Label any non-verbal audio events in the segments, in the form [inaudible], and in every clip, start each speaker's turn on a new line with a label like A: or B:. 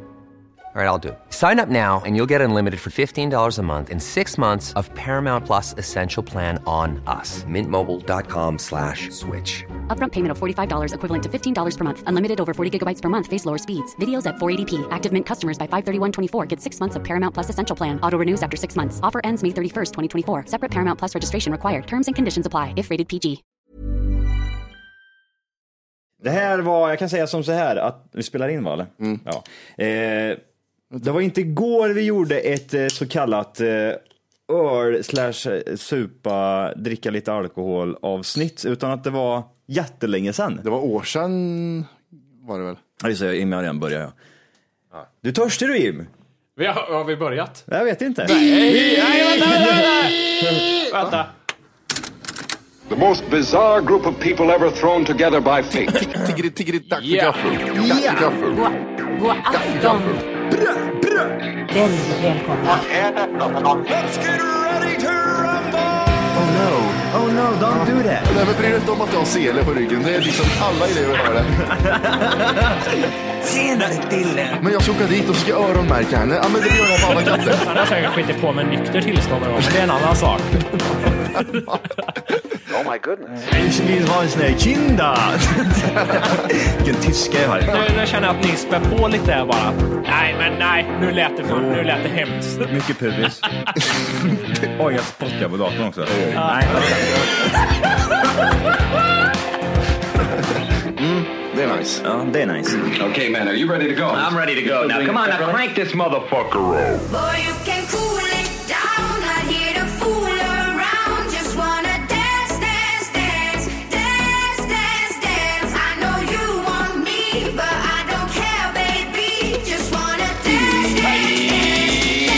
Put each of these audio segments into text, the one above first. A: All right, I'll do. it. Sign up now and you'll get unlimited for $15 a month and six months of Paramount Plus Essential Plan on us. Mintmobile.com slash switch.
B: Upfront payment of $45 equivalent to $15 per month. Unlimited over 40 gigabytes per month. Face lower speeds. Videos at 480p. Active Mint customers by 531.24 get six months of Paramount Plus Essential Plan. Auto renews after six months. Offer ends May 31st, 2024. Separate Paramount Plus registration required. Terms and conditions apply if rated PG.
C: Det här var, jag kan säga som så här, att vi spelar in va? eller? Ja. Eh, det var inte igår vi gjorde ett eh, så kallat eh, öl slash eh, supa, dricka lite alkohol avsnitt, utan att det var jättelänge sedan.
D: Det var år sedan var det väl?
C: Ja, just det, Jimmy har redan börjat ja. Du är törstig du Jim?
E: Vi har, har vi börjat?
C: Jag vet inte.
E: Nej, nej, vänta, vänta, vänta! vänta.
F: The most bizarre group of people ever thrown together by fate.
D: Tiggeri, tiggeri, dack för
E: Yeah.
D: gaffel. Dack för gaffel.
G: God afton! Väldigt välkomna.
D: Oh no.
C: Oh no, don't do that!
D: Nej men bry dig inte om att jag har sele på ryggen. Det är liksom alla elever har det.
C: Senare Dille!
D: Men jag ska åka dit och ska öronmärka henne. Ja men det gör jag på alla katter. [laughs]
H: Han har säkert skitit på med nykter tillstånd någon gång, men det är en annan sak.
F: oh my goodness.
C: Ich will ha en sån här kinda! [laughs] Vilken tyska jag har.
H: Nu, nu känner jag att ni spär på lite här bara. Nej, men nej, nu lät det, för, nu lät det hemskt.
C: Mycket pubis. [laughs] Oj, jag spottar på datorn också. Nej,
D: Det är nice.
C: ja, det är nice.
F: Okay, man, are you ready to go? I'm ready to go. Now, come on, now crank this motherfucker up.
I: Boy, you can cool it down. Not here to fool around. Just wanna dance, dance, dance, dance, dance, dance. I know you want me, but I don't care, baby. Just wanna dance, dance, dance, dance,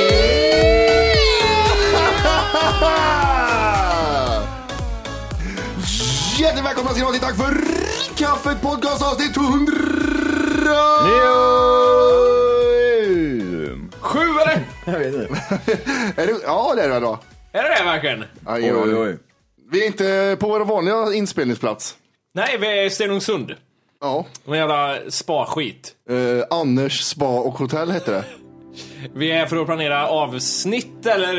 I: dance,
D: Hjärtligt välkomna ska ni vara till Tack för kaffet podcast avsnitt 200.
E: Sju eller?
D: Är det, ja det är det väl då.
E: Är det det verkligen?
D: Aj,
C: Oj, oj.
D: Vi är inte på vår vanliga inspelningsplats.
E: Nej, vi är i Stenungsund.
D: Ja.
E: Någon jävla spa-skit.
D: Eh, Anders spa och hotell heter det.
E: Vi är för att planera avsnitt eller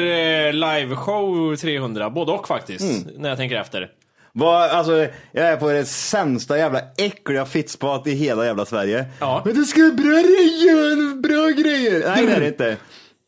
E: eh, liveshow 300. Både och faktiskt,
F: Mm.
E: när jag tänker efter.
C: Vad, alltså, jag är på det sämsta jävla äckliga fittspat i hela jävla Sverige.
E: Ja.
C: Men det ska vara bra grejer, bra grejer. Nej det är det inte.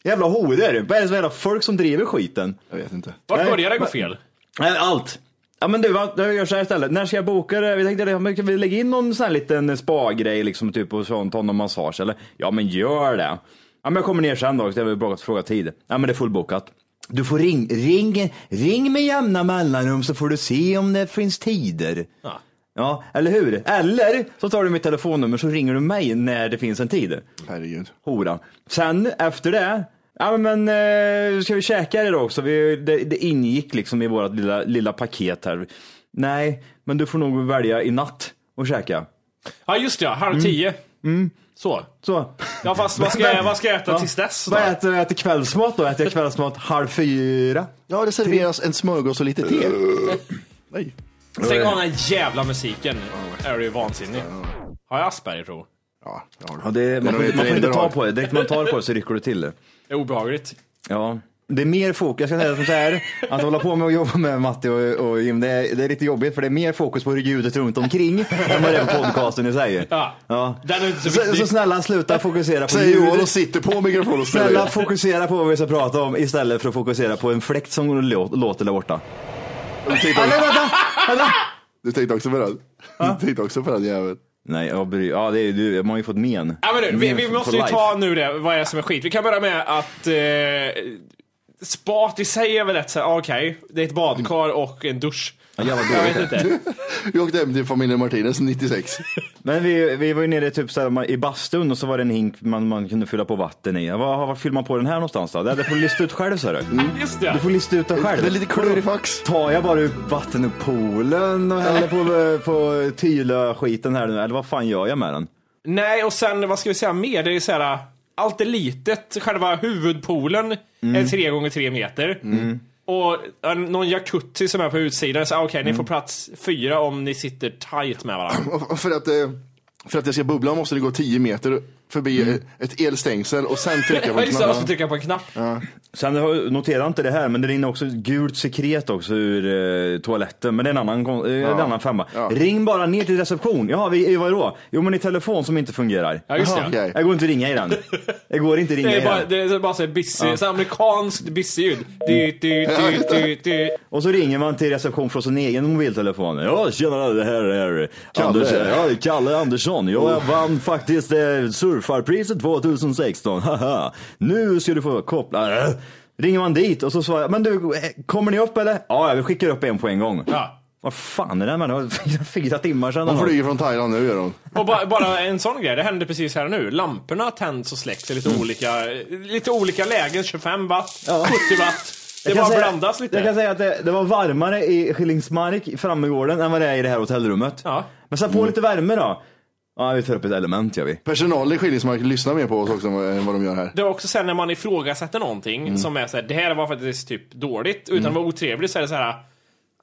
C: Jävla horor. Vad är det för jävla folk som driver skiten?
D: Jag vet inte.
E: Vart
C: Nej,
E: började det gå
C: men-
E: fel?
C: Nej, Allt. Ja men du, vad- jag gör så här istället. När ska jag boka det? Vi tänkte, ja, men kan vi lägga in någon sån här liten spa-grej liksom, typ och sånt, ta någon massage eller? Ja men gör det. Ja men jag kommer ner sen då, så jag vill bara fråga tid. Ja men det är fullbokat. Du får ring, ring, ring med jämna mellanrum så får du se om det finns tider.
E: Ja.
C: Ja, eller hur? Eller så tar du mitt telefonnummer så ringer du mig när det finns en tid.
D: Herregud.
C: Hora. Sen efter det, ja men eh, ska vi käka idag också? Vi, det, det ingick liksom i vårt lilla, lilla paket här. Nej, men du får nog välja i natt och käka.
E: Ja, just det, ja. Halv
F: Mm.
E: tio. Så.
C: Så.
E: Ja, fast vad ska, jag- vad ska jag äta
C: Ja.
E: tills dess då?
C: Vad äter jag? Jag äter kvällsmat då? Äter jag kvällsmat halv fyra?
D: Ja det serveras en smörgås och lite te. Nej.
E: Stäng av den här jävla musiken. Är du ju vansinnig. Har jag Asperger tro?
D: Ja, det har du.
C: Ja, det, man,
D: nog
C: får,
D: ett
C: man får inte
D: hinder
C: ta
D: har.
C: på det. Direkt man tar på det så rycker du till det.
E: Det är obehagligt.
C: Ja. Det är mer fokus, jag ska säga som så här, att hålla på med att jobba med Matti och, och Jim, det är, det är lite jobbigt för det är mer fokus på ljudet runt omkring än vad det är på podcasten i sig.
E: Ja. Den är inte så
C: så,
E: viktig.
C: så snälla sluta fokusera på
D: Säger Johan och
C: ljudet.
D: sitter på mikrofonen och spelar
C: Snälla
D: in.
C: fokusera på vad vi ska prata om istället för att fokusera på en fläkt som lå- låter där borta.
D: Du tänkte
C: Nej,
D: också-
C: vänta, vänta.
D: Du tänkte också på den? Du tänkte också på den jäveln?
C: Nej, jag bryr, ja, det är, du, man har ju fått men.
E: Ja, men nu, vi,
C: Men
E: vi
C: for
E: måste ju
C: life.
E: ta nu det, vad är det som är skit. Vi kan börja med att eh, Spat i sig är väl rätt såhär, okej, det är ett badkar och en dusch.
C: jävla
E: Jag vet inte.
D: Vi åkte hem till familjen Martinez 96.
C: Men vi, vi var ju nere typ så här, i bastun och så var det en hink man, man kunde fylla på vatten i. Var, var fyller man på den här någonstans då? Det det får du lista ut själv sa du.
E: Just det.
C: Du får lista ut det själv.
D: Mm. Det är lite klurifax.
C: Tar jag bara ut vatten ur poolen och häller på, på Tylö-skiten här nu? Eller vad fan gör jag med den?
E: Nej, och sen vad ska vi säga mer? Det är så här, allt är litet. Själva huvudpoolen
C: Mm.
E: är tre gånger tre meter. Och eh, någon jacuzzi som är på utsidan. Så ah, okej, ni
C: Mm.
E: får plats fyra om ni sitter tight med varandra.
D: Och För att, eh, för att jag ska bubbla måste det gå 10 meter förbi ett elstängsel och sen trycka på
E: Ja, just det, och så
D: knappen.
E: trycker jag på en knapp.
C: Sen har- notera inte det här, men det rinner också ett gult sekret också ur eh, toaletten. Men det är en annan, kon- eh, en annan femma.
D: Ja.
C: Ring bara ner till reception. Ja, vi, vad då? Jo, men i telefon som inte fungerar.
E: Ja, just det.
D: Jaha, okej.
C: Jag går inte att ringa i den. Jag går inte att ringa
E: Det
C: i
E: är bara,
C: den.
E: det är bara så här busy, så här amerikanskt busy-ljud. Du, du, du, du, du.
C: Och så ringer man till reception från sin egen mobiltelefon. Ja, tjena, det här är
D: Kalle.
C: Anders, ja, det är Kalle Andersson. Ja, jag
E: Oh.
C: vann faktiskt eh, surfarpriset 2016. [laughs] Haha. nu ska du få koppla. Äh. Ringer man dit och så svarar jag, men du, eh, kommer ni upp eller? Ja, ja, vi skickar upp en på en gång.
E: Ja.
C: Vad fan är det här med [laughs] fyra timmar sedan?
D: Hon flyger från Thailand nu gör hon.
E: Och ba, bara en sån grej, det hände precis här nu. Lamporna tänds och släcks i lite
C: Mm.
E: olika, lite olika lägen. 25 watt, 70 watt. Det
C: Jag kan
E: bara
C: säga-
E: blandas lite.
C: Jag kan säga att det, det var varmare i Skillingsmark framme i gården än vad det är i det här hotellrummet.
E: Ja. Mm.
C: Men sen på lite värme då. Ja, vi tar upp ett element gör vi.
D: Personalen i Skillingsmark lyssnar mer på oss också än vad de gör här.
E: Det är också sen när man ifrågasätter någonting
C: Mm.
E: som är såhär, det här var faktiskt typ dåligt. Utan att vara otrevlig så är det såhär,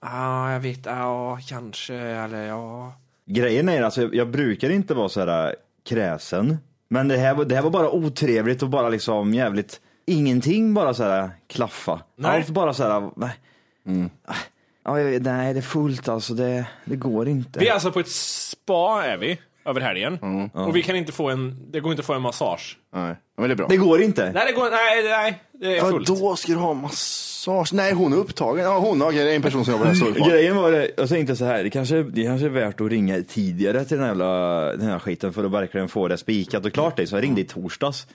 E: ah, jag vet, ja, kanske, eller ja.
C: Grejen är alltså, jag, jag brukar inte vara så här äh, kräsen. Men det här, var- det här var bara otrevligt och bara liksom jävligt, ingenting bara så här äh, klaffa.
E: Nej.
C: Allt bara så här, äh, nej. Ah, ja, jag vet, nej, det är fullt alltså, det, det går inte.
E: Vi är alltså på ett spa är vi, över helgen.
C: Mm,
E: Och vi kan inte få en, det går inte att få en massage.
D: Nej, men det är bra.
C: Det går inte.
E: Nej, det går nej, nej, det är
D: Ja,
E: fullt.
D: då ska du ha massage. Nej, hon är upptagen. Ja, hon. Okej, det är en person som jobbar här. Sorry, fan.
C: Grejen var det, jag tänkte så här, det kanske, det kanske är värt att ringa tidigare till den här, jävla, den här skiten för att verkligen få det spikat och klart. Så jag ringde i torsdags.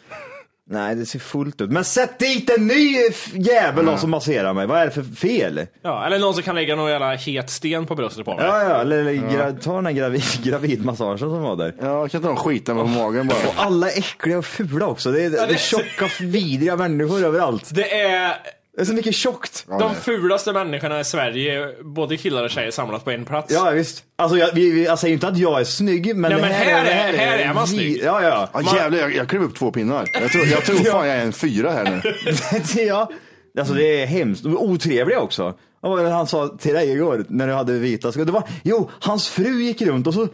C: Nej, det ser fullt ut. Men sätt dit en ny f- jävel då som masserar mig. Vad är det för fel?
E: Ja, eller någon som kan lägga någon jävla het sten på bröstet på mig.
C: Ja, ja, eller, eller gra- ta den här gravid, [laughs] gravidmassagen som var där.
D: Ja, kan inte de skita med på magen bara?
C: Och alla är äckliga och fula också. Det är, det är tjocka, vidriga människor överallt.
E: Det är
C: Det är så mycket tjockt.
D: Ja,
E: de
D: nej.
E: fulaste människorna i Sverige, både killar och tjejer samlat på en plats.
C: Ja, visst. Alltså, jag, vi, vi, jag säger inte att jag är snygg, men,
E: Nej,
C: det
E: men här
C: det
E: är- här är man
C: vi-
E: snygg.
C: Ja, ja. [laughs]
D: Ja, jävlar, jag, jag klev upp två pinnar. Jag tror, jag tror fan jag är en fyra här nu.
C: ja. Alltså det är hemskt. De är otrevliga också. Vad var det han sa till dig igår när du hade vita skor? Det var, jo, hans fru gick runt och så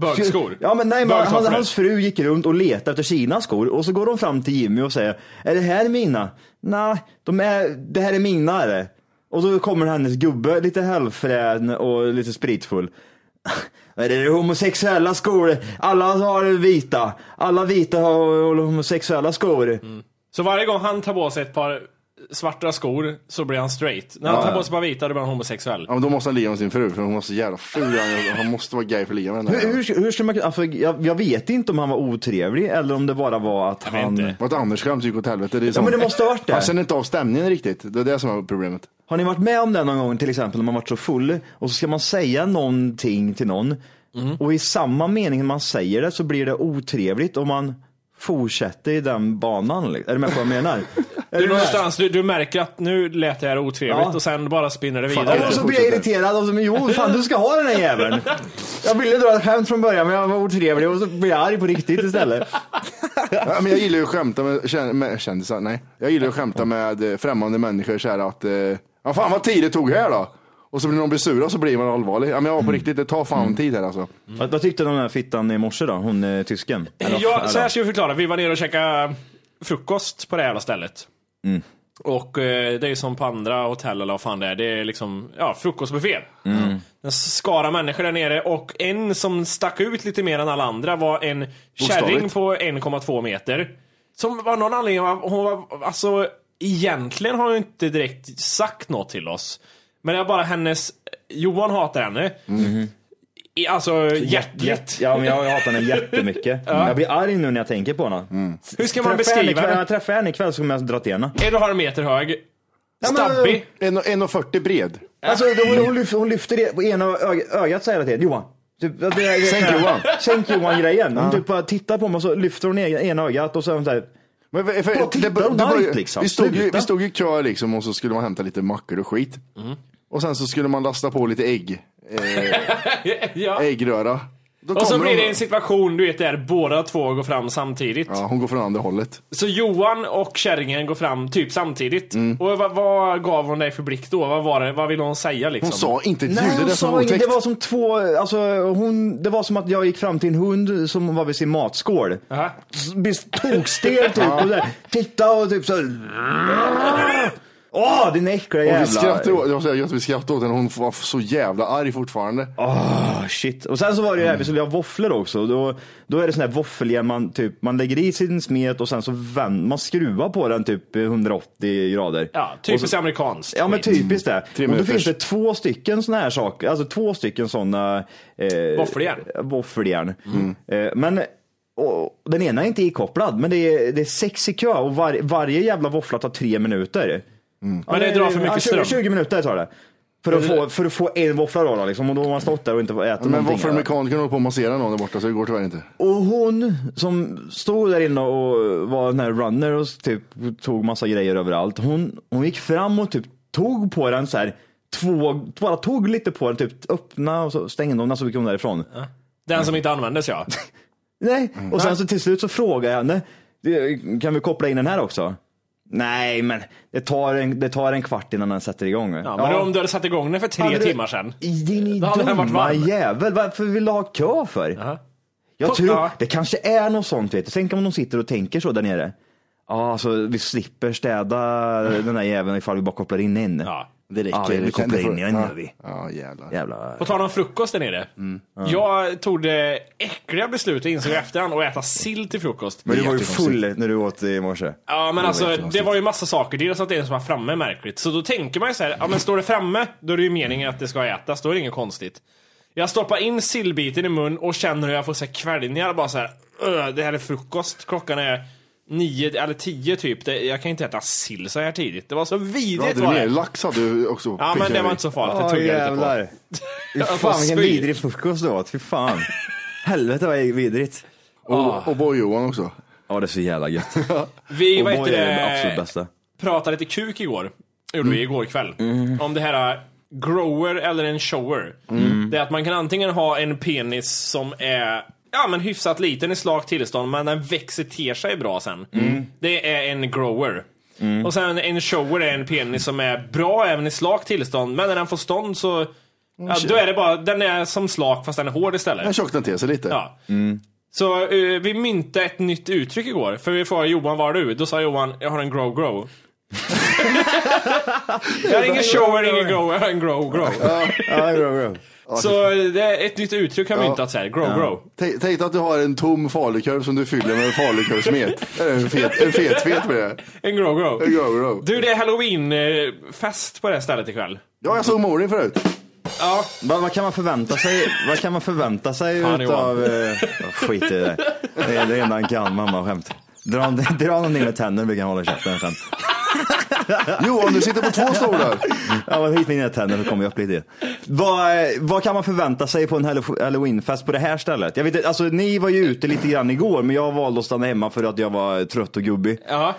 E: Bögskor.
C: [laughs] Ja men nej, men
E: Bögtofflor.
C: han, hans fru gick runt och letade efter sina skor och så går de fram till Jimmy och säger, är det här mina? Nej, de är, det här är mina är det. Och så kommer hennes gubbe, lite halvfrän och lite spritfull. [laughs] Är det homosexuella skor? Alla har vita. Alla vita har homosexuella skor.
E: Så varje gång han tar på sig ett par svarta skor så blir han straight. När han tar på sig ett par vita då blir han homosexuell.
D: Ja, men då måste han ligga med sin fru, för hon var så jävla ful. Han, han måste vara gay för att ligga med henne.
C: Hur, hur, hur ska man, kunna- för jag, jag vet inte om han var otrevlig eller om det bara var att
E: vet
C: han...
E: inte.
D: Vad ett Anders-skämt gick åt helvete. Det är
C: Ja
D: sånt.
C: men det måste ha varit det.
D: Han känner inte av stämningen riktigt. Det är det som är problemet.
C: Har ni varit med om det någon gång till exempel när man varit så full och så ska man säga någonting till någon
E: Mm.
C: och i samma mening man säger det så blir det otrevligt om man fortsätter i den banan. liksom. Är du med på vad jag
E: [laughs]
C: menar? Är
E: Du,
C: med?
E: någonstans, du, du märker att nu lät det här otrevligt
C: Ja.
E: och sen bara spinner det
D: jag
C: Och
E: vidare.
C: så
D: fortsätter.
C: blir jag irriterad och så, men jo fan du ska ha den här jäveln. Jag ville dra ett skämt från början men jag var otrevlig och så blir jag arg på riktigt istället.
D: Ja, men jag gillar ju att skämta med, kän- med kändisar. Nej, jag gillar ju att skämta med eh, främmande människor så här att, eh, ja fan vad tid det tog här då. Och så blir någon blir sur och så blir man allvarlig. Ja, men jag var på
C: Mm.
D: riktigt, det tar fan tid här alltså.
C: Vad, vad tyckte den här fittan i morse då? Hon eh, tysken? Eller vad fan är
E: Mm. Ja, så här
C: det?
E: ska vi förklara. Vi var nere och käkade frukost på det här jävla stället.
C: Mm.
E: Och eh, det är som på andra hotell eller vad fan det är. Det är liksom, ja, frukostbuffé.
C: Mm.
E: En skara människor där nere och en som stack ut lite mer än alla andra var en kärring på 1,2 meter. Som var någon anledning, var- hon var, alltså egentligen har hon inte direkt sagt något till oss. Men det är bara hennes, Johan hatar henne. I, alltså hjärtligt.
C: Mm-hmm. Ja, men jag hatar henne jättemycket. Jag blir arg nu när jag tänker på henne.
E: Hur ska man
C: Träffar jag henne
E: beskriva
C: ikväll-
E: det?
C: Träffar jag henne ikväll så kommer jag alltså dra till henne.
E: En och en halv meter hög.
C: Ja, men-
E: Stabbig.
D: En- 1,40 bred.
C: Alltså, hon, hon, lyfter, hon lyfter det på ena ö- ögat så här hela tiden. Johan. Typ, att det är- [laughs]
D: Sänk Johan.
C: Sänk Johan-grejen. Hon typ bara tittar på mig och så lyfter hon ena- ena ögat och så är hon så här.
D: Men för, för,
C: Bara titta och
D: var ju-
C: nice, liksom.
D: vi, stod ju,
C: Sluta. Mm.
D: vi stod ju i kö liksom, och så skulle man hämta lite mackor och skit. Och sen så skulle man lasta på lite ägg,
E: ja.
D: äggröra. Då
E: Och så
D: kommer
E: blir
D: hon-
E: det en situation du vet där båda två går fram samtidigt.
D: Ja, hon går från andra hållet.
E: Så Johan och kärringen går fram typ samtidigt.
C: Mm.
E: Och vad, vad gav hon dig för blick då? Vad, var det, vad ville hon säga liksom?
D: Hon sa inte ett ljud,
C: Nej,
D: det är
C: hon
D: det som
C: sa
D: var
C: inget.
D: otäckt.
C: Det var som två, alltså hon, det var som att jag gick fram till en hund som var vid sin matskål.
E: Jaha.
C: S- Blev tokstel typ och där, titta och typ så. här. Åh, din äckliga
D: Och vi
C: jävla.
D: skrattade, åt- jag säger att vi skrattade åt henne, hon var så jävla arg fortfarande.
C: Åh, Ah, shit. Och sen så var det ju
D: Mm.
C: det här, vi skulle ha våfflor också. Då, då är det sån här våffeljäm man typ, man lägger i sin smet och sen så vänd, man skruvar på den typ 180 grader.
E: Ja,
C: Och
E: typiskt
C: så-
E: amerikanskt.
C: Ja men typ. typiskt det.
D: Tre
C: Och då
D: minuters.
C: finns det två stycken såna här saker, alltså två stycken såna eh,
E: Våffeljärn.
C: våffeljärn.
D: Mm.
C: Eh, men och, den ena är inte ikopplad, men det är, det är sex i kö och var, varje jävla våffla tar tre minuter. Ja,
E: Men det drar för mycket ström.
C: 20, 20 minuter tar det. För att, få, för att få en våffla då, då liksom, och då har man stått där och inte ätit
D: Men
C: någonting.
D: varför mekanikern håller på att massera någon där borta så det går tyvärr inte.
C: Och hon som stod där inne och var den här runner och typ tog massa grejer överallt. Hon, hon gick fram och typ tog på den så här. Två, bara tog lite på den, typ öppna och så stängde hon den så gick hon därifrån.
E: Den som inte
C: [laughs]
E: användes ja.
C: Mm. Nej, och sen så till slut så frågade jag henne. "Du, Kan vi koppla in den här också? Nej, men det tar en, det tar en kvart innan den sätter igång.
E: ja men om du hade satt igång den för tre
C: Hade du-
E: timmar sedan.
C: Din
E: Då hade den varit
C: dumma
E: varm.
C: jävel, varför vill du ha kö för? Jag
E: Kolla.
C: tror, det kanske är något sånt vet du. Tänk om de sitter och tänker så där nere. Ja, så vi slipper städa den där jäveln ifall vi bara kopplar in en.
E: Ja.
D: Det räcker.
C: Ja, vi- vi
D: det-
C: kopplar
D: det får-
C: in igen
D: ja.
C: nu, vi.
D: Ja, jävlar.
C: Jävla...
E: På tal om frukost där nere.
C: Mm.
E: Jag tog det äckliga beslutet, insåg jag efterhand, att äta sill till frukost.
C: Men du var ju
D: jättekonstigt.
C: full när du åt i morse.
E: Ja men alltså det
D: jättekonstigt.
E: var ju massa saker. Dels att det är en som var framme märkligt. Så då tänker man ju så här, ja men står det framme då är det ju meningen att det ska ätas. Då är det inget konstigt. Jag stoppar in sillbiten i mun och känner hur jag får så här kvällningar bara så här. "Öh, Det här är frukost. Klockan är nio eller tio typ. Det, jag kan inte äta sill så här tidigt. Det var så
D: Ja,
E: vidrigt
D: du
E: var det.
D: ner. Lax hade du också.
E: Ja men det var inte så farligt. Jag tuggade lite på. [laughs]
C: Fy fan
E: får
C: vilken
E: spy.
C: vidrig frukost du åt, fy
E: [laughs]
C: fan. Helvete vad vidrigt.
E: Ah.
D: Och, och Boy-Johan också.
C: Ja det är så jävla gött.
E: Vi,
C: Och
E: vad
C: Boy
E: heter
C: är den absolut
E: det,
C: bästa.
E: pratade lite kuk igår. Gjorde vi igår kväll. Om det här eh, grower eller en shower. Det är att man kan antingen ha en penis som är Ja men hyfsat liten i slakt tillstånd men den växer till sig bra sen. Det är en grower. Och sen en shower är en penis som är bra även i slakt tillstånd men när den får stånd så ja, då är det bara, den är som slak fast den är hård istället.
D: Den tjocknade till sig lite.
E: Ja. Så eh, vi myntade ett nytt uttryck igår, för vi frågade Johan var är du? Då sa Johan, jag har en grow grow. [laughs] jag har ingen shower, ingen grow, jag har en grow grow.
C: Ja, bra, bra.
E: Så eh, det är ett nytt uttryck har myntats här, grow grow.
D: Tänk tänk dig att du har en tom falukorv som du fyller med en falukorvssmet.
E: [laughs]
D: Eller en fet, en fet, fet med det.
E: En grow
D: En
E: grow.
D: go-go.
E: Du, det är halloween-fest på det här stället ikväll.
D: Ja, jag såg Morin förut.
E: Ja,
C: Vad, vad kan man förvänta sig, vad kan man förvänta sig
E: Fan,
C: utav... Eh, oh, skit i det. Det är det enda han kan, mamma skämt. Dra, dra honom ner med tänderna brukar han hålla käften sen.
D: Johan, du sitter på
E: [laughs]
D: två stolar.
C: Ja, men hit med dina tänder så kommer jag upp lite. Vad, eh, vad kan man förvänta sig på en hallo- halloweenfest på det här stället? Jag vet, inte, alltså, ni var ju ute lite grann igår men jag valde att stanna hemma för att jag var trött och gubbig.
E: ja.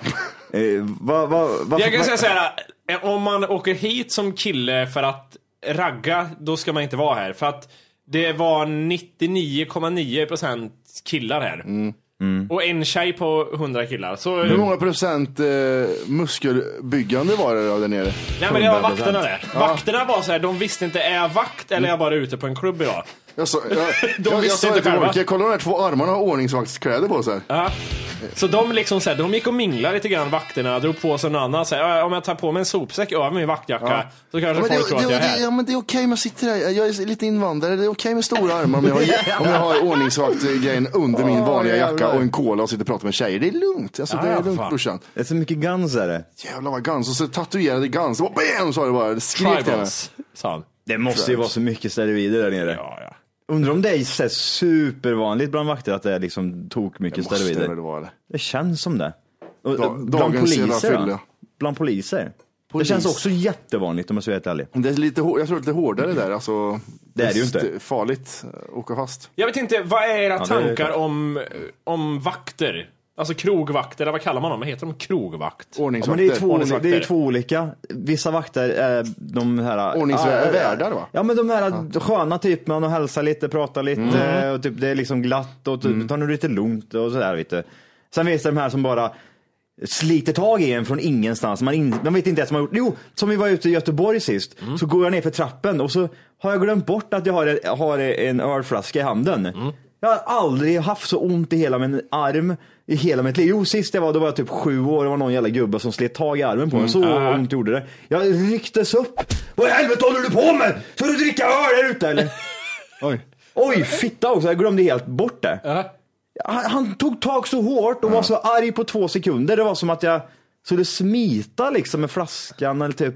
C: Eh, vad, vad, varför-
E: Jag kan säga såhär, eh, om man åker hit som kille för att ragga, då ska man inte vara här. För att det var 99,9% killar här. Och en tjej på 100 killar. Så,
D: Mm. Hur många procent eh, muskelbyggande var det då där nere?
E: nej men det var
C: 100%.
E: vakterna det. Vakterna var så här, de visste inte, är jag vakt eller är jag bara ute på en klubb idag?
D: Jag,
E: [laughs]
D: sa- jag, jag, jag
E: visste
D: sa
E: inte
D: det till
E: själva.
D: Morin, kolla de här två armarna har ordningsvaktskläder på sig.
E: Ja. Så de liksom så här, de gick och minglade lite grann vakterna, drog på sig någon annan så här, "Ja, om jag tar på mig en sopsäck över min vaktjacka så
D: Ja,
E: kanske
D: men, det,
E: folk tror att
D: det,
E: jag är
D: det,
E: här.
D: ja, men det är okej om jag sitter här. Jag är lite invandrare. Det är okej med stora armar om jag
E: [laughs]
D: har, om jag har ordningsvaktgrejen under min
C: Åh,
D: vanliga jacka
C: jävlar.
D: och en cola och sitter och pratar med tjejer. Det är lugnt. Alltså, det
E: Ja,
D: är lugnt
E: fan.
D: brorsan.
C: Det är så mycket guns är det.
D: Jävlar vad guns. Och så tatuerade guns. Och bam sa det bara. Det skrek till mig.
E: Tribals, sa han.
C: Det måste ju vara så mycket steroider där nere.
E: Ja, ja.
C: Undrar om det är så här supervanligt bland vakter att det är liksom tok mycket
D: Måste
C: steroider.
D: väl vara det.
C: Det känns som det. Och,
D: Da-
C: bland
D: dagens jävla
C: poliser då?
D: fylla.
C: Bland poliser?
D: Polis.
C: Det känns också jättevanligt om jag ska vara helt ärlig.
D: Det är lite, hår- jag tror det är lite hårdare där. Alltså,
C: Det är det ju inte.
D: st- Farligt att åka fast.
E: Jag vet inte, vad är era
C: det är-
E: tankar om, om vakter? Alltså krogvakter, eller vad kallar man dem? Heter de krogvakt?
C: Ja, men det, är
D: Ordningsvakter.
C: två, olika-
E: Ordningsvakter.
C: det är två olika. Vissa vakter är de här...
D: Ordningsvä-
C: Ja,
D: värdar, va?
C: Ja men de här sköna typ man och hälsar lite, pratar lite
D: Mm.
C: och typ det är liksom glatt och typ tar nu lite lugnt och sådär vet du. Sen finns det de här som bara sliter tag i en från ingenstans. Man, in, man vet inte ens vad man har gjort. Jo, som vi var ute i Göteborg sist, så går jag ner för trappen och så har jag glömt bort att jag har, har en ölflaska i handen. Jag har aldrig haft så ont i hela min arm i hela mitt liv. Jo, sist jag var, då var jag typ sju år. Det var någon jävla gubbe som slet tag i armen på mig. Så ont gjorde det. Jag rycktes upp. Vad i helvete håller du på med? Ska du dricka öl här ute eller?
D: Oj.
C: Oj, fitta också. Jag glömde helt bort det. Han, han tog tag så hårt och var så arg på två sekunder. Det var som att jag skulle smita liksom med flaskan eller typ.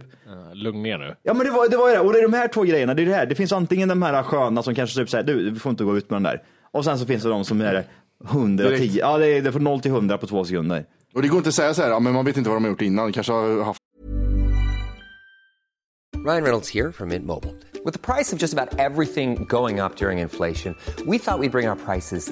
E: Lugn ner nu.
C: Ja men det var, det var ju det. Och det är de här två grejerna. Det är det här. Det finns antingen de här sköna som kanske typ säger du, du får inte gå ut med den där. Och sen så finns det de som är 110.
D: Direkt.
C: Ja, det är, det är från 0 till 100 på två sekunder.
D: Och det går inte att säga så här, ja, men man vet inte vad de har gjort innan. Kanske har haft
A: Ryan Reynolds here from Mint Mobile. With the price of just about everything going up during inflation, we thought we'd bring our prices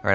A: All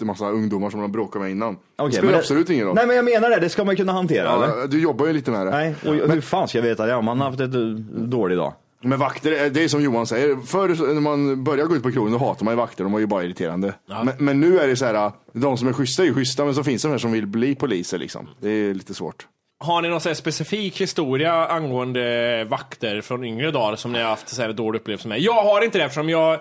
D: en massa ungdomar som de bråkat med innan.
C: Okej,
D: det spelar
C: men det-
D: absolut ingen roll.
C: Nej men jag menar det, det ska man kunna hantera eller?
D: ja, du jobbar ju lite med det.
C: Nej, och hur fan ska jag veta det om han har haft ett eh, dålig dag?
D: Men vakter, eh, det är som Johan säger, förr så- när man börjar gå ut på krogen då hatar man ju vakter, de var ju bara irriterande. Men, men nu är det så här, eh, de som är schyssta är ju schyssta, men så finns det de här som vill bli poliser liksom. Det är lite svårt.
E: Har ni någon så här specifik historia angående vakter från yngre dagar som ni har haft så här dålig upplevelse med? Jag har inte det eftersom jag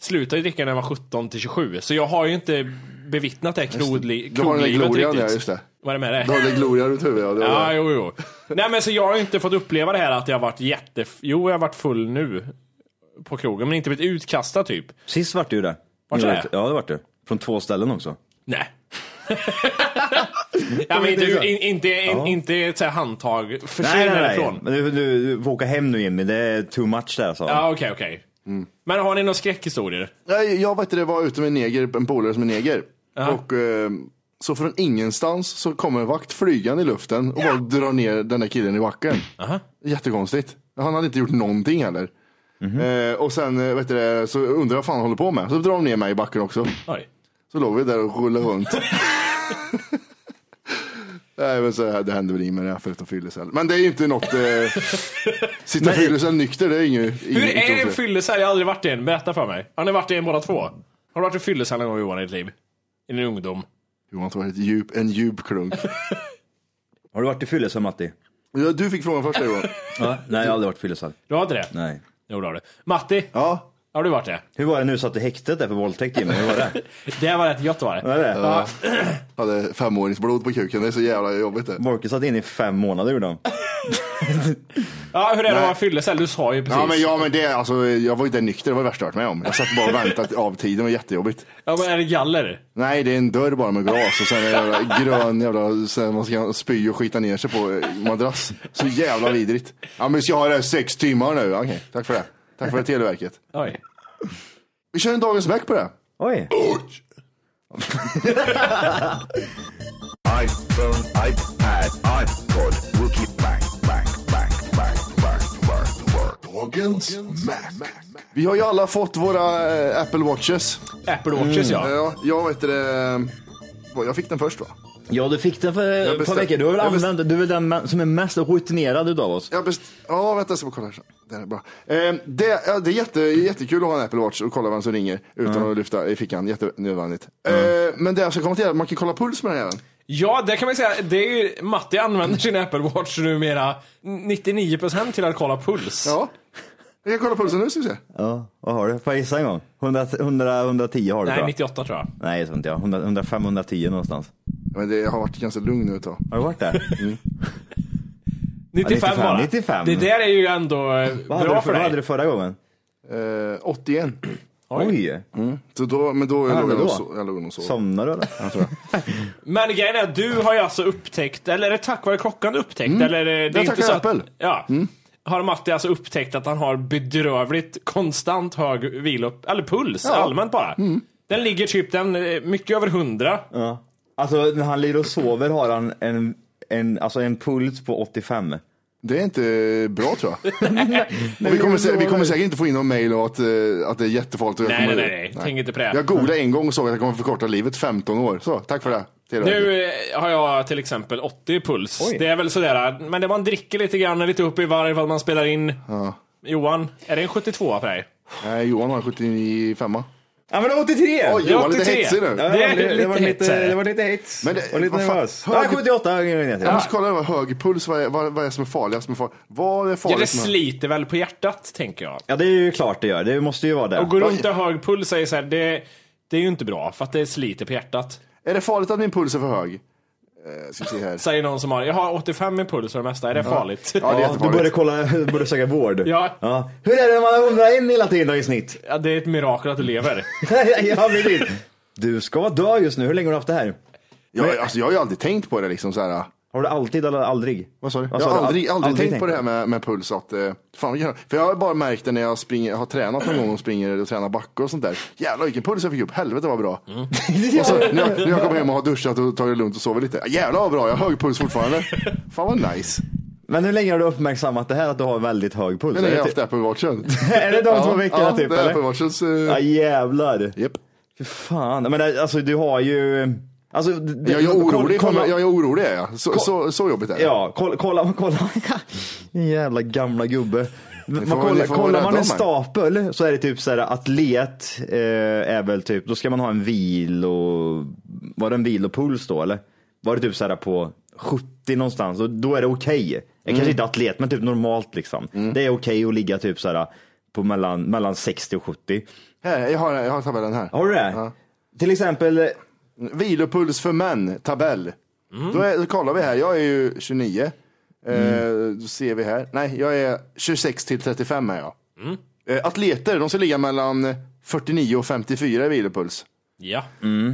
E: slutade ju dricka när jag var 17 till 27, så jag har ju inte bevittnat det här krogli-
D: Du har den där
E: kroglivet
D: glorian
E: riktigt.
D: där, just det.
E: Vad är det med det?
D: Du har den där glorian runt huvudet. Ja, det var
E: Ja,
D: det.
E: jo, jo. Nej, men så jag har ju inte fått uppleva det här att jag har varit jätte... Jo, jag har varit full nu på krogen, men inte blivit utkastad typ.
C: Sist vart du det.
E: Vart det?
C: Ja det vart du. Från två ställen också.
E: Nej.
D: [laughs]
E: ja, men inte, in, inte, in, inte ett så här handtag. Försvinn härifrån.
C: Men du, du, du får åka hem nu Jimmy, det är too much där alltså. sa han.
E: Ja, okej, okej.
D: Mm.
E: Men har ni några skräckhistorier?
D: Nej, jag vet inte, det var ute med en neger, en polare som är neger. Och, eh, så från ingenstans så kommer en vakt flygande i luften och bara drar ner den där killen i backen. Jättekonstigt. Han hade inte gjort någonting heller.
E: Mhm.
D: Eh, och sen eh, vet du, det, så undrar jag vad fan han håller på med. Så drar de ner mig i backen också.
E: Oj.
D: Så låg vi där och rullade
E: [laughs]
D: runt. Nej, men så här, det händer väl inget med det här förutom fyllecell. Men det är ju inte något... Eh,
E: [laughs]
D: sitta fyllecell nykter, det är inget...
E: Hur är en fyllecell? Jag har aldrig varit i en. Berätta för mig. Har ni varit i en båda två? Har du varit i en fyllecell någon gång Johan i ditt liv? I din ungdom?
D: Johan tog ett djup, en djup klunk.
C: Har du varit i fyllecell Matti?
D: Ja, du fick frågan först där, Johan.
C: Nej jag har aldrig varit i fyllecell.
E: Du har inte det?
C: Nej.
E: Jo, det har du. Matti,
D: Ja,
E: har du varit det?
C: Hur var det nu satt i häktet där för våldtäkt Jimmy? Hur var
D: [laughs]
C: det?
E: Det var rätt gött var det.
C: Vad är det?
D: hade femåringsblod på kuken, det är så jävla jobbigt det.
C: Borke satt inne i fem månader gjorde han.
E: Ja, hur är det att vara fyllecell? Du sa ju precis.
D: Ja men, ja, men det, alltså, jag var ju inte nykter, det var det värsta jag varit med om. Jag satt bara och väntade av tiden, det var jättejobbigt.
E: Ja, men är det galler?
D: Nej, det är en dörr bara med glas och sen är det jävla grön jävla, sen man ska spy och skita ner sig på eh, madrass. Så jävla vidrigt. Ja men ska jag ha det här sex timmar nu? Okej, tack för det. Tack för det Televerket.
E: Oj.
D: Vi kör en dagens Mac på det.
C: Oj.
J: iPhone, iPad, iPod, Wookie, bang, bang, bang, bang, bang, bang, bang. Dagens Mac.
D: Vi har ju alla fått våra eh, Apple Watches. Mm,
E: Apple Watches ja.
D: Ja, eh, jag vet det. eh, Jag fick den först va?
K: Ja, du fick den för ett par
D: beställ-
K: veckor. Du har väl
D: jag beställ-
K: använt den? Du är väl den man- som är mest rutinerad utav oss?
D: Jag best... Ja, vänta, jag ska bara kolla här. Det är bra. Eh, det, ja, det är jätte, jättekul att ha en Apple Watch och kolla vem som ringer utan att lyfta i fickan. Jättenödvändigt. Eh, men det jag ska komma till är att man kan kolla puls med den här även.
E: Ja, det kan man ju säga. Det är ju, Matti använder sin Apple Watch numera 99% till att kolla puls.
D: Ja. Jag kan kolla pulsen nu ska vi se.
C: Ja, vad har du? Får jag gissa en gång? 100, 100, 110 har du tror
E: Nej,
C: jag.
E: 98 tror jag.
C: Nej, det tror inte jag. 100, 105, 110 någonstans.
D: Men det har varit ganska lugn nu ett tag.
C: Har du varit där?
E: 95, bara.
C: 95.
E: Det där är ju ändå eh,
C: Vad hade,
E: bra
C: du, för,
E: för
C: vad hade
E: dig.
C: du förra gången?
D: Eh, 81.
C: Oj!
D: Mm. Så då, men då
C: Vad
D: jag låg
C: hände
D: jag nog
C: då?
D: och so- jag låg nog och sov.
C: Somnade du eller?
D: Jag tror jag.
E: Men grejen är att du har ju alltså upptäckt, eller är det tack vare klockan du upptäckt?
C: Mm.
E: Eller är det, det är
D: Jag tackar
E: så att,
D: Apple.
E: Ja. Har Matti alltså upptäckt att han har bedrövligt konstant hög vilo, eller puls allmänt bara.
C: Mm.
E: Den ligger typ den, eh, mycket över 100.
C: Ja. Alltså när han ligger och sover har han en, en, alltså en puls på 85.
D: Det är inte bra tror jag. och vi, kommer, sä- vi kommer säkert inte få in någon mail och att, eh, att det är jättefarligt. och jag
E: Nej, nej,
D: kommer-
E: nej, nej. Tänk inte på det.
D: Jag googlade en gång och såg att jag kommer förkorta livet 15 år. Så, tack för det. Till
E: Nu eh, har jag till exempel 80 i puls. Det är väl sådär, men det man dricker lite grann, lite upp i varv, att man spelar in.
D: Ja.
E: Johan, är det en 72 på dig?
D: Nej, Eh, Johan har 75
C: Ja men det var 83!
D: Oj, Johan är lite
E: 83.
D: hetsig nu.
C: Ja,
E: Det är
C: det, det,
E: lite
C: var
E: hets
C: lite,
E: här.
C: det var lite hets.
D: Men det-
C: och lite
D: vad fan,
C: nervös.
D: hög-
C: Ja, 78 ner ner till.
D: Jag måste kolla över hög puls, vad är, vad, vad är det som är farligast med farligt? Vad är
E: Ja, det
C: liksom.
D: farligt med...
E: sliter väl på hjärtat, tänker jag.
C: Ja det är ju klart det gör, det måste ju vara det.
E: Och gå runt och hög puls säger så här, det, det är ju inte bra, för att det sliter på hjärtat.
D: Är det farligt att min puls är för hög? Eh, ska vi se här.
E: Säger någon som har, jag har 85 i puls och det mesta, är det farligt?
D: Ja, det är
C: Ja, du
D: jättefarligt.
C: borde [laughs] kolla, du borde söka vård.
E: Ja.
C: Hur är det när man har 101 hela tiden då i snitt? [laughs]
E: Ja, det är ett mirakel att du lever.
C: ja, precis. Du ska dö just nu, hur länge har du haft det här?
D: Jag, alltså, jag har ju aldrig tänkt på det liksom så här.
C: Har du alltid eller aldrig?
D: Vad sa du? Jag har aldrig, aldrig, tänkt på det här med, med puls. Att, eh, fan, vad gör- för jag har bara märkt det när jag springer, har tränat någon gång och springer och tränar backar och sånt där. Jävlar vilken puls jag fick upp, helvete vad bra. Och så, när, jag, när jag kommer hem och har duschat och tagit det lugnt och sovit lite. Jävlar vad bra, jag har hög puls fortfarande. Fan vad nice.
C: [laughs] Men hur länge har du uppmärksammat det här att du har väldigt hög puls?
D: Men jag har
C: Är
D: jag
C: det
D: haft Apple Watchen. [laughs]
C: Är det de två veckorna
D: ja,
C: typ
D: det är
C: eller?
D: Apple Watchens... eh,
C: Ja jävlar.
D: Japp.
C: Fy fan. Men det- alltså du har ju... Alltså, det,
D: Jag är orolig,
C: kolla-
D: för, jag är orolig är jag. Så, så, så jobbigt är det.
C: Ja, kolla, kolla, kolla. [laughs] Din jävla gamla gubbe. Man
D: får-
C: kollar
D: ni får vara
C: kollar man
D: rädda
C: en
D: om mig.
C: stapel så är det typ så här atlet eh, är väl typ, då ska man ha en vil och var det en vilopuls då eller? Var det typ så här på 70 någonstans och då är det okej.
D: Mm.
C: Kanske inte atlet men typ normalt liksom. Det är okej att ligga typ så här på mellan, mellan 60 och 70.
D: Här, jag, har, jag har tabellen här.
C: Har du det? Till exempel
D: Vilopuls för män, tabell.
C: Mm.
D: Då, är, då kollar vi här, jag är ju 29.
C: Mm.
D: Eh, då ser vi här. Nej, jag är 26 till 35 är jag.
C: Mm.
D: Eh, atleter, de ska ligga mellan 49 och 54 i vilopuls.
E: ja.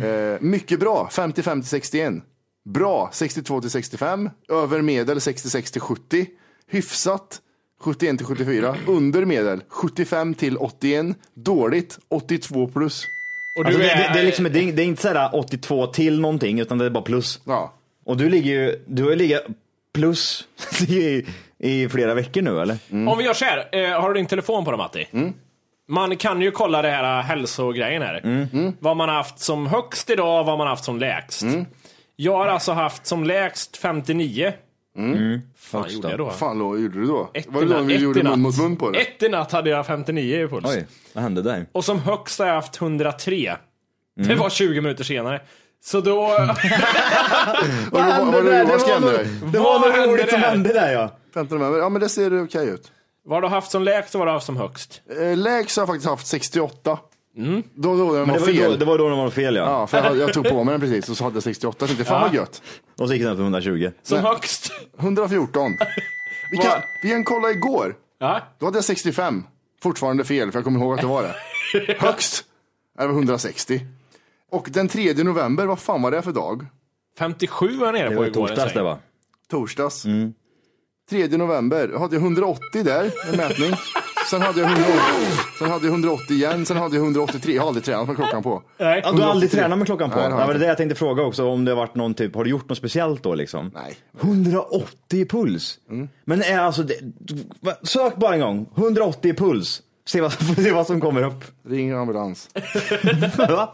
D: Eh, mycket bra, 55 till 61. Bra, 62 till 65. Över medel, 66 till 70. Hyfsat, 71 till 74. Under medel, 75 till 81. Dåligt, 82 plus.
E: Och du
C: Alltså, det,
E: är,
C: det, det, är liksom, det, är, det är inte såhär 82 till någonting utan det är bara plus.
D: Ja.
C: Och du ligger ju, du har ju legat plus [laughs] i, i flera veckor nu eller?
D: Mm.
E: Om vi gör så här, eh, har du din telefon på dig Matti? Man kan ju kolla det här eh, hälsogrejen här.
D: Mm.
E: Vad man har haft som högst idag och vad man har haft som lägst.
D: Mm.
E: Jag har alltså haft som lägst 59. Fan,
C: Högst
E: gjorde
C: då.
E: jag då?
D: Mm. fan då, gjorde du då?
E: Ett
D: Var det
E: i
D: då
E: natt-
D: vi
E: ett i
D: gjorde
E: natt.
D: mun mot mun på det?
E: Ett i natt hade jag 59 i puls.
C: Oj, vad hände där?
E: Och som högst har jag haft 103.
D: Mm.
E: Det var 20 minuter senare. Så då...
D: [laughs] Vad var, var, var, var, vad skrämde dig?
C: Det var
E: Vad
C: något
E: hände
C: roligt som
E: där?
C: hände där ja.
D: 15 november, ja men det ser okej ut.
E: vad har du haft som lägst och vad har du haft som högst?
D: Eh, Lägst har jag faktiskt haft 68.
E: Mm.
D: Då, då den var
C: Det var, ju då,
D: fel.
C: det var då det var fel ja.
D: Ja, för jag, hade- jag tog på mig den precis och så hade jag 68. Jag tänkte, fan vad gött.
C: Och så gick den upp till 120.
E: Som högst? [laughs]
D: 114. Vi kan,
E: Vad?
D: vi kan kolla igår.
E: Ja.
D: Då hade jag 65. Fortfarande fel, för jag kommer ihåg att det var det. Högst är det 160. Och den 3 november, vad fan var det för dag?
E: 57 var jag nere
C: Det
E: på
C: var i
E: igår. en
C: torsdags
E: sväng.
C: det va?
D: Torsdags. 3 november, hade jag 180 där, en mätning. Sen hade, jag 180, sen hade jag 180 igen, sen hade jag 183. Jag har aldrig tränat med klockan på.
E: Nej.
C: Ja, du har aldrig tränat med klockan på?
D: Nej, det
C: Nej,
D: har jag
C: det var
D: inte.
C: det jag tänkte fråga också, om det har varit någon typ, har du gjort något speciellt då liksom?
D: Nej. Mm.
C: 180 i puls? Men är alltså, det, va- sök bara en gång, 180 i [laughs] puls. Se vad, se vad som kommer upp.
D: Ring ambulans.
C: Va?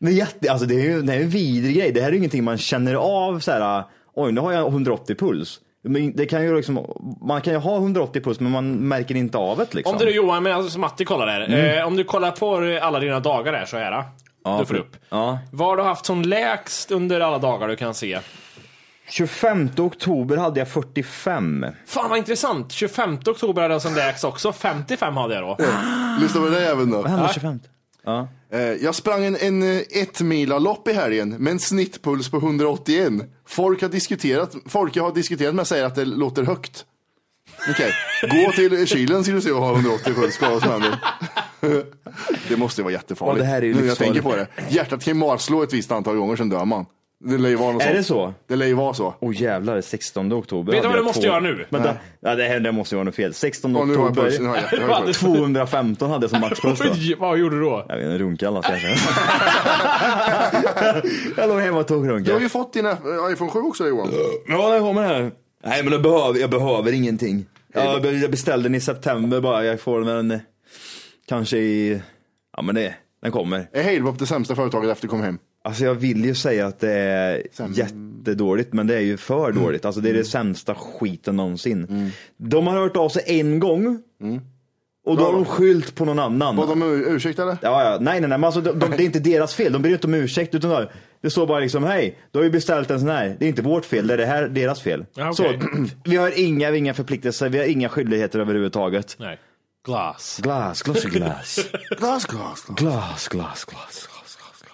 C: Det är, jätte, alltså det är ju det är en vidrig grej. Det här är ju ingenting man känner av så här, oj nu har jag 180 puls. Men det kan ju liksom, man kan ju ha 180 puls men man märker inte av det liksom.
E: Om du nu Johan, men alltså, som Matti kollar där.
C: Mm.
E: Eh, om du kollar på eh, alla dina dagar här så här.
C: Ja,
E: du får upp.
C: Ja.
E: Vad har du haft som lägst under alla dagar du kan se?
C: 25 oktober hade jag 45.
E: Fan vad intressant! 25 oktober hade jag som lägst också. 55 hade jag då.
D: Lyssna på det där även då.
E: Vad hände 25?
C: Ja.
D: Eh, Jag sprang en, en eh, ett-mila-lopp i helgen med en snittpuls på 181. Folk, har diskuterat, folk jag har diskuterat med säger att det låter högt. Okej, gå till kylen ska du se och ha 180 puls. Kolla vad som händer. [laughs] Det måste ju vara jättefarligt.
C: Ja, det här är ju
D: nu när jag
C: livsfarligt.
D: tänker på det. Hjärtat kan ju marslå ett visst antal gånger, sen dör man. Det lär ju vara något
C: Är
D: sånt.
C: det så?
D: Det lär ju vara så.
C: Åh jävlar, 16 oktober.
E: Ah. Vet
C: hade
E: du vad
C: jag
E: du måste
C: två-
E: göra nu?
C: Vänta, ja, det, här, det måste ju vara något fel. 16
D: Åh, nu har jag
C: oktober,
D: puls, nu har jag
C: [laughs]
D: jättehög puls.
C: 215 hade jag som maxpuls då.
E: [laughs] Oj, vad gjorde du då?
C: Jag vet inte, runka eller något kanske. [laughs] jag låg hemma och tog runka.
D: Du har ju fått din eh, iPhone 7 också Johan.
C: Ja, jag har med här. Nej, men jag behöver, jag behöver ingenting. Jag, be- jag beställde den i september bara. Jag får den eh, kanske i... Ja, men det, den kommer.
D: Är Halebop det sämsta företaget efter du kom hem?
C: Alltså jag vill ju säga att det är jättedåligt, men det är ju för dåligt. Alltså det är det sämsta skiten någonsin. De har hört av sig en gång och då har de skyllt Mm. på någon annan.
D: Bad de om ur- ursäkt eller?
C: Ja, ja. Nej, nej, nej. Men alltså, de, de, det är inte deras fel. De ber ju inte om ursäkt. Utan de- det står bara liksom, hej, du har ju beställt en sån här. Det är inte vårt fel, det är det här deras fel.
E: Ja, okej.
C: Så, [clears throat] vi har inga, inga förpliktelser, vi har inga skyldigheter överhuvudtaget.
E: Nej. Glass.
C: Glass, glass, glass.
D: Glas, glas, glas.
C: Glass, glass, glass, glass, glass,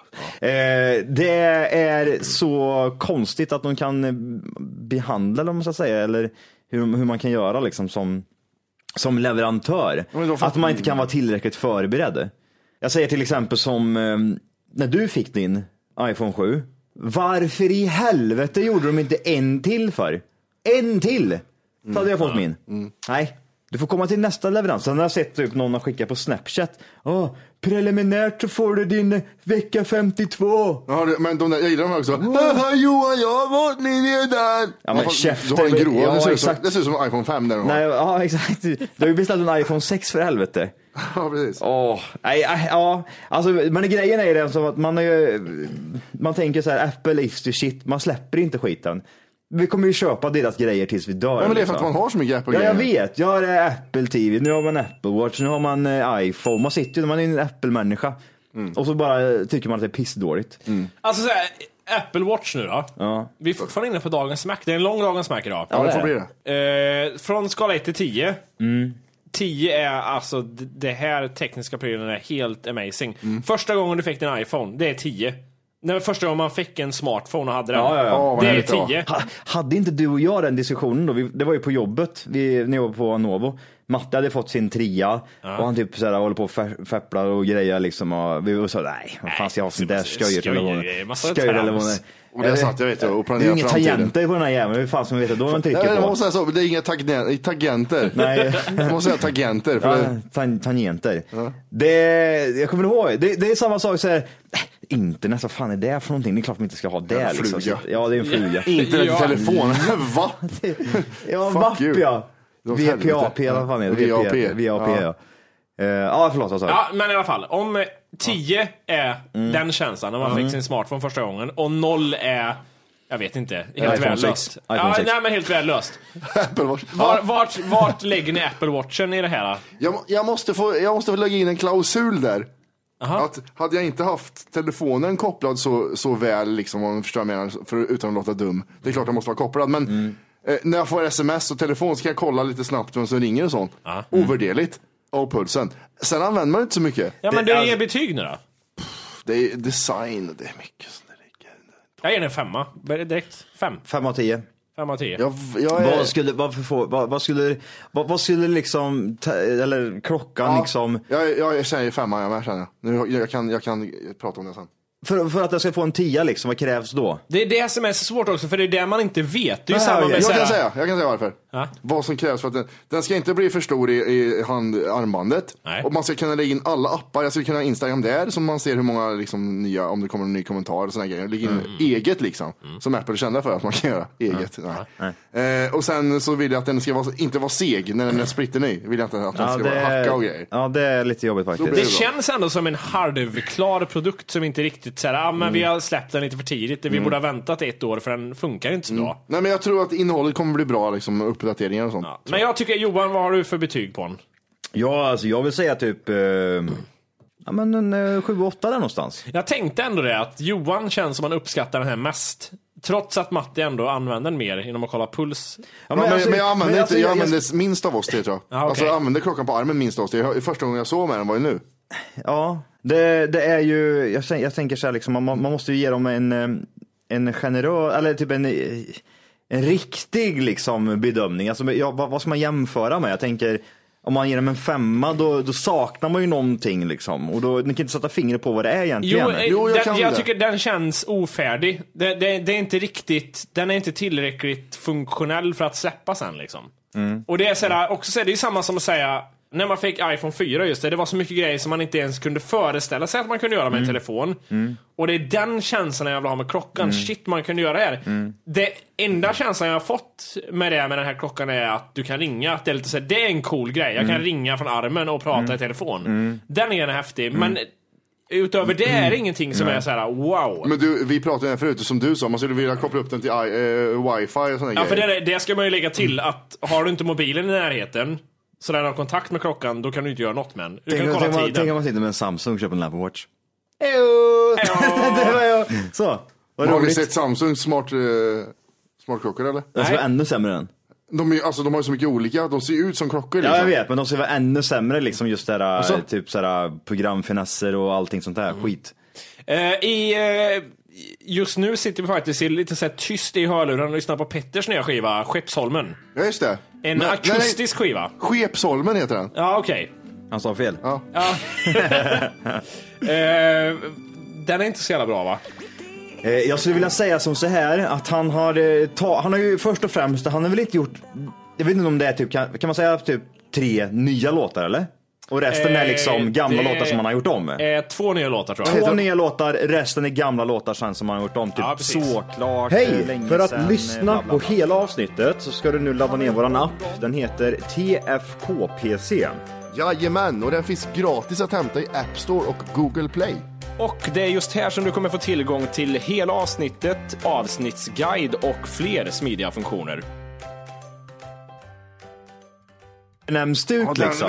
C: glass. Eh, det är så konstigt att de kan eh, behandla dem så att säga, eller hur, hur man kan göra liksom som, som leverantör.
D: Men då fattar
C: Att man inte kan vara tillräckligt förberedd. Jag säger till exempel som eh, när du fick din iPhone 7. Varför i helvete gjorde de inte en till för? En till! Så hade jag fått min. Nej, du får komma till nästa leverans. Sen har jag sett typ någon har skickat på Snapchat. Åh, preliminärt så får du din vecka 52.
D: Ja, det- men de där, jag gillar de här också. Haha Johan, jag har fått min redan.
C: Ja, men
D: fan,
C: käften.
D: Du har en grå,
C: Ja,
D: det, ser ut som,
C: exakt.
D: det ser ut som en iPhone 5 där de har.
C: Nej, ja [laughs] exakt. Du har ju beställt en iPhone 6 för helvete.
D: Ja, precis.
C: Åh, nej, nej, ja. Alltså, men grejen är ju den som att man har ju, man tänker så här, Apple is the shit, man släpper inte skiten. Vi kommer ju köpa deras grejer tills vi dör.
D: Ja, men det är för
C: liksom.
D: att man har så mycket
C: Ja,
D: Apple-grejer.
C: jag vet. Jag har eh, Apple TV, nu har man Apple Watch, nu har man eh, iPhone. Man sitter ju, man är ju en Apple-människa.
D: Mm.
C: Och så bara eh, tycker man att det är pissdåligt.
E: Alltså så här, Apple Watch nu då. Vi är fortfarande inne på dagens smack. Det är en lång dagens smack idag.
D: Ja, det
C: det
D: får
C: är
D: bli
C: det.
D: det.
E: Eh, från skala 1 till 10.
C: Mm.
E: 10 är alltså, d- det här tekniska prylen är helt amazing.
C: Mm.
E: Första gången du fick din iPhone, det är 10. Nej, men första gången man fick en smartphone och hade den.
C: Ja, ja, ja.
D: Åh, vad
E: Det är
D: härligt det var.
E: 10.
C: Ha- Hade inte du och jag den diskussionen då? Vi, det var ju på jobbet, vi, när jag var på Anovo. Matte hade fått sin tria och han typ såhär, håller på och fär- fäpplar och grejer liksom. Och vi var så nej, vad fan ska jag ha sånt där
E: skoj- skoj-
C: sköjrelevån?
E: massa trams.
D: Och där satt jag vet du och
C: Det är ju
D: planerade
C: inga
D: framtiden.
C: tangenter på den här jäveln, hur fan ska man veta då vad man
D: Nej,
C: trycker
D: jag
C: på?
D: måste säga så, det är inga tagne- tangenter.
C: Nej.
D: Jag måste säga tangenter. [laughs] För
C: Ja,
D: det,
C: tan- tangenter. Det, jag kommer ihåg, det, det är samma sak så här. äh, internet, vad fan är det för någonting? Det är klart man inte ska ha det.
D: Jävla
C: Liksom.
D: fluga.
C: Ja, det är en
E: [laughs]
C: fluga.
D: internet
E: Ja.
D: i telefon.
C: Mm.
D: [laughs] Va?
C: [laughs] Ja,
D: Fuck
C: VAP
D: you.
C: ja.
D: Åt
C: VPAP
D: helvete.
C: eller vad fan är det?
D: Ja, VAP.
C: VAP
D: Ja.
C: ja. Eh, Ja, förlåt vad sa du?
E: Ja, men i alla fall. Om eh, 10 är
C: Mm.
E: den känslan när man fick sin smartphone första gången och 0 är, jag vet inte, helt
C: iPhone
E: väl
C: sex.
E: löst.
C: iPhone
E: Ja,
C: sex.
E: nej men helt väl löst.
D: Apple Watch.
E: Var,
D: Ja,
E: vart, vart lägger ni Apple Watchen i det här?
D: jag, må- jag, måste få, jag måste få lägga in en klausul där. Att hade jag inte haft telefonen kopplad så, så väl, liksom, om du förstår vad jag menar, för, utan att låta dum. Det är klart den måste vara kopplad, men eh, när jag får sms och telefon så kan jag kolla lite snabbt vem som ringer och sånt. Ovärderligt. Och pulsen. Sen använder man inte så mycket.
E: Ja men
C: Det-
E: du ger
C: alltså-
E: betyg nu då?
D: Det är design och det är mycket sånt där.
E: Jag ger den en femma. Börjar Direkt. Fem.
C: Fem av tio.
E: Fem av tio.
D: Jag, jag är...
C: Vad skulle, varför få, vad, vad skulle, vad, vad skulle liksom, ta, eller klockan
D: Ja,
C: liksom,
D: Jag, jag säger femma jag med känner jag. Nu, jag, kan, jag kan prata om det sen.
C: för, för att jag ska få en tia liksom, vad krävs då?
E: Det är det som är så svårt också, för det är det man inte vet. Det är ju
C: Nej,
E: samma med
D: Jag
E: så här-
D: kan säga, jag kan säga varför.
E: Ja.
D: Vad som krävs för att den, den ska inte bli för stor i, i hand, armbandet.
E: Nej.
D: Och man ska kunna lägga in alla appar. Jag ska kunna ha Instagram där så man ser hur många liksom, nya, om det kommer en ny kommentar och sådana grejer. Lägga in eget liksom. Som Apple är kända för att man kan göra. Eget. Nej. Eh, och sen så vill jag att den ska vara, inte vara seg när den är splitterny. Vill jag inte att den ska vara hacka och grejer.
C: ja, det är lite jobbigt
D: blir
C: faktiskt.
E: Det känns ändå som en halvklar produkt som inte riktigt riktigt så här, ah, men vi har släppt den lite för tidigt, vi borde ha väntat ett år för den funkar inte så bra.
D: Nej, men jag tror att innehållet kommer bli bra, liksom, med uppdateringar och sånt.
E: Men jag tycker, Johan, vad har du för betyg på den?
C: Ja, alltså jag vill säga typ eh, ja, men en eh, 7-8 där någonstans.
E: Jag tänkte ändå det, att Johan känns som han uppskattar den här mest. Trots att Matti ändå använder den mer genom att kolla puls.
D: Ja, men, alltså,
C: alltså,
D: men jag använde, inte, jag använde minst av oss det tror jag.
E: okej.
D: Alltså jag använde klockan på armen minst av oss det. Jag- Första gången jag såg med den var ju nu.
C: Ja, det, det är ju, jag, tän- jag tänker så här liksom, man, man måste ju ge dem en, eh, en generös, eller typ en, eh, en riktig liksom bedömning. Alltså, ja, vad, vad ska man jämföra med? Jag tänker, om man ger dem en femma då, då saknar man ju någonting liksom. Och då, ni kan inte sätta fingret på vad det är
E: Jo,
C: egentligen.
E: eh, den, jag, tycker den känns ofärdig. Det, det, det är inte riktigt, den är inte tillräckligt funktionell för att släppa sen liksom.
C: Mm.
E: Och det är, sådär, också sådär, det är samma som att säga, när man fick iPhone 4 just det, det var så mycket grejer som man inte ens kunde föreställa sig att man kunde göra med en telefon. Mm. Och det är den känslan jag vill ha med klockan.
C: Mm.
E: Shit, man kunde göra det här.
C: Mm.
E: Det enda känslan jag har fått med det med den här klockan är att du kan ringa. Att det, är lite så här, det är en cool grej. Jag kan
C: Mm.
E: ringa från armen och prata i telefon.
D: Mm.
E: Den är häftig, men utöver det
C: Mm.
E: är det ingenting som
D: Nej.
E: är så här wow.
D: Men du, vi pratade ju här förut, som du sa, man skulle vilja koppla upp den till i, eh, wifi och sådana
E: Ja,
D: grejer.
E: för det, det ska man ju lägga till att har du inte mobilen i närheten så den har kontakt med klockan, då kan du inte göra något med den. Du
C: Tänk,
E: kan
C: om-
E: kolla
C: tänk, om- tänk om
E: tiden.
C: man sitter med en Samsung och köper en Apple Watch. [laughs] Så, vad
D: har ni
C: roligt.
D: sett Samsungs smart, eh, smartklockor eller?
C: Den ska vara ännu sämre än.
D: De, är, alltså, de har ju så mycket olika, de ser ju ut som klockor.
C: Ja
D: liksom.
C: jag vet, men de ska vara ännu sämre liksom just det här,
D: Och så-
C: eh, typ så här programfinesser och allting sånt där skit.
E: Eh, i, eh, just nu sitter vi faktiskt i lite så här tyst i hörluren och lyssnar på Petters nya skiva, Skeppsholmen.
D: Ja just det.
E: En
D: Men-
E: akustisk skiva.
D: Skepsholmen heter den.
E: Ja, okej.
C: Han sa fel.
D: Ja.
E: Eh, den är inte så jävla bra va?
C: Eh, Jag skulle vilja säga som så här att han har, eh, ta, han har ju först och främst, han har väl inte gjort, jag vet inte om det är typ, kan, kan man säga typ tre nya låtar eller? Och resten är
E: Eh,
C: liksom gamla
E: det Eh,
C: låtar som han har gjort om.
E: är två nya låtar tror jag.
C: Två nya låtar, resten är gamla låtar sen som han har gjort om. Typ
E: Ja, precis.
C: såklart.
E: eh,
C: Hej!
E: länge
C: För
E: sedan,
C: att
E: eh,
C: lyssna
E: bla, bla,
C: på hela avsnittet så ska du nu ladda ner våran app. Den heter TFKPC.
D: Jajamän, och den finns gratis att hämta i App Store och Google Play.
L: Och det är just här som du kommer få tillgång till hela avsnittet, avsnittsguide och fler smidiga funktioner.
C: Nämns det ut liksom?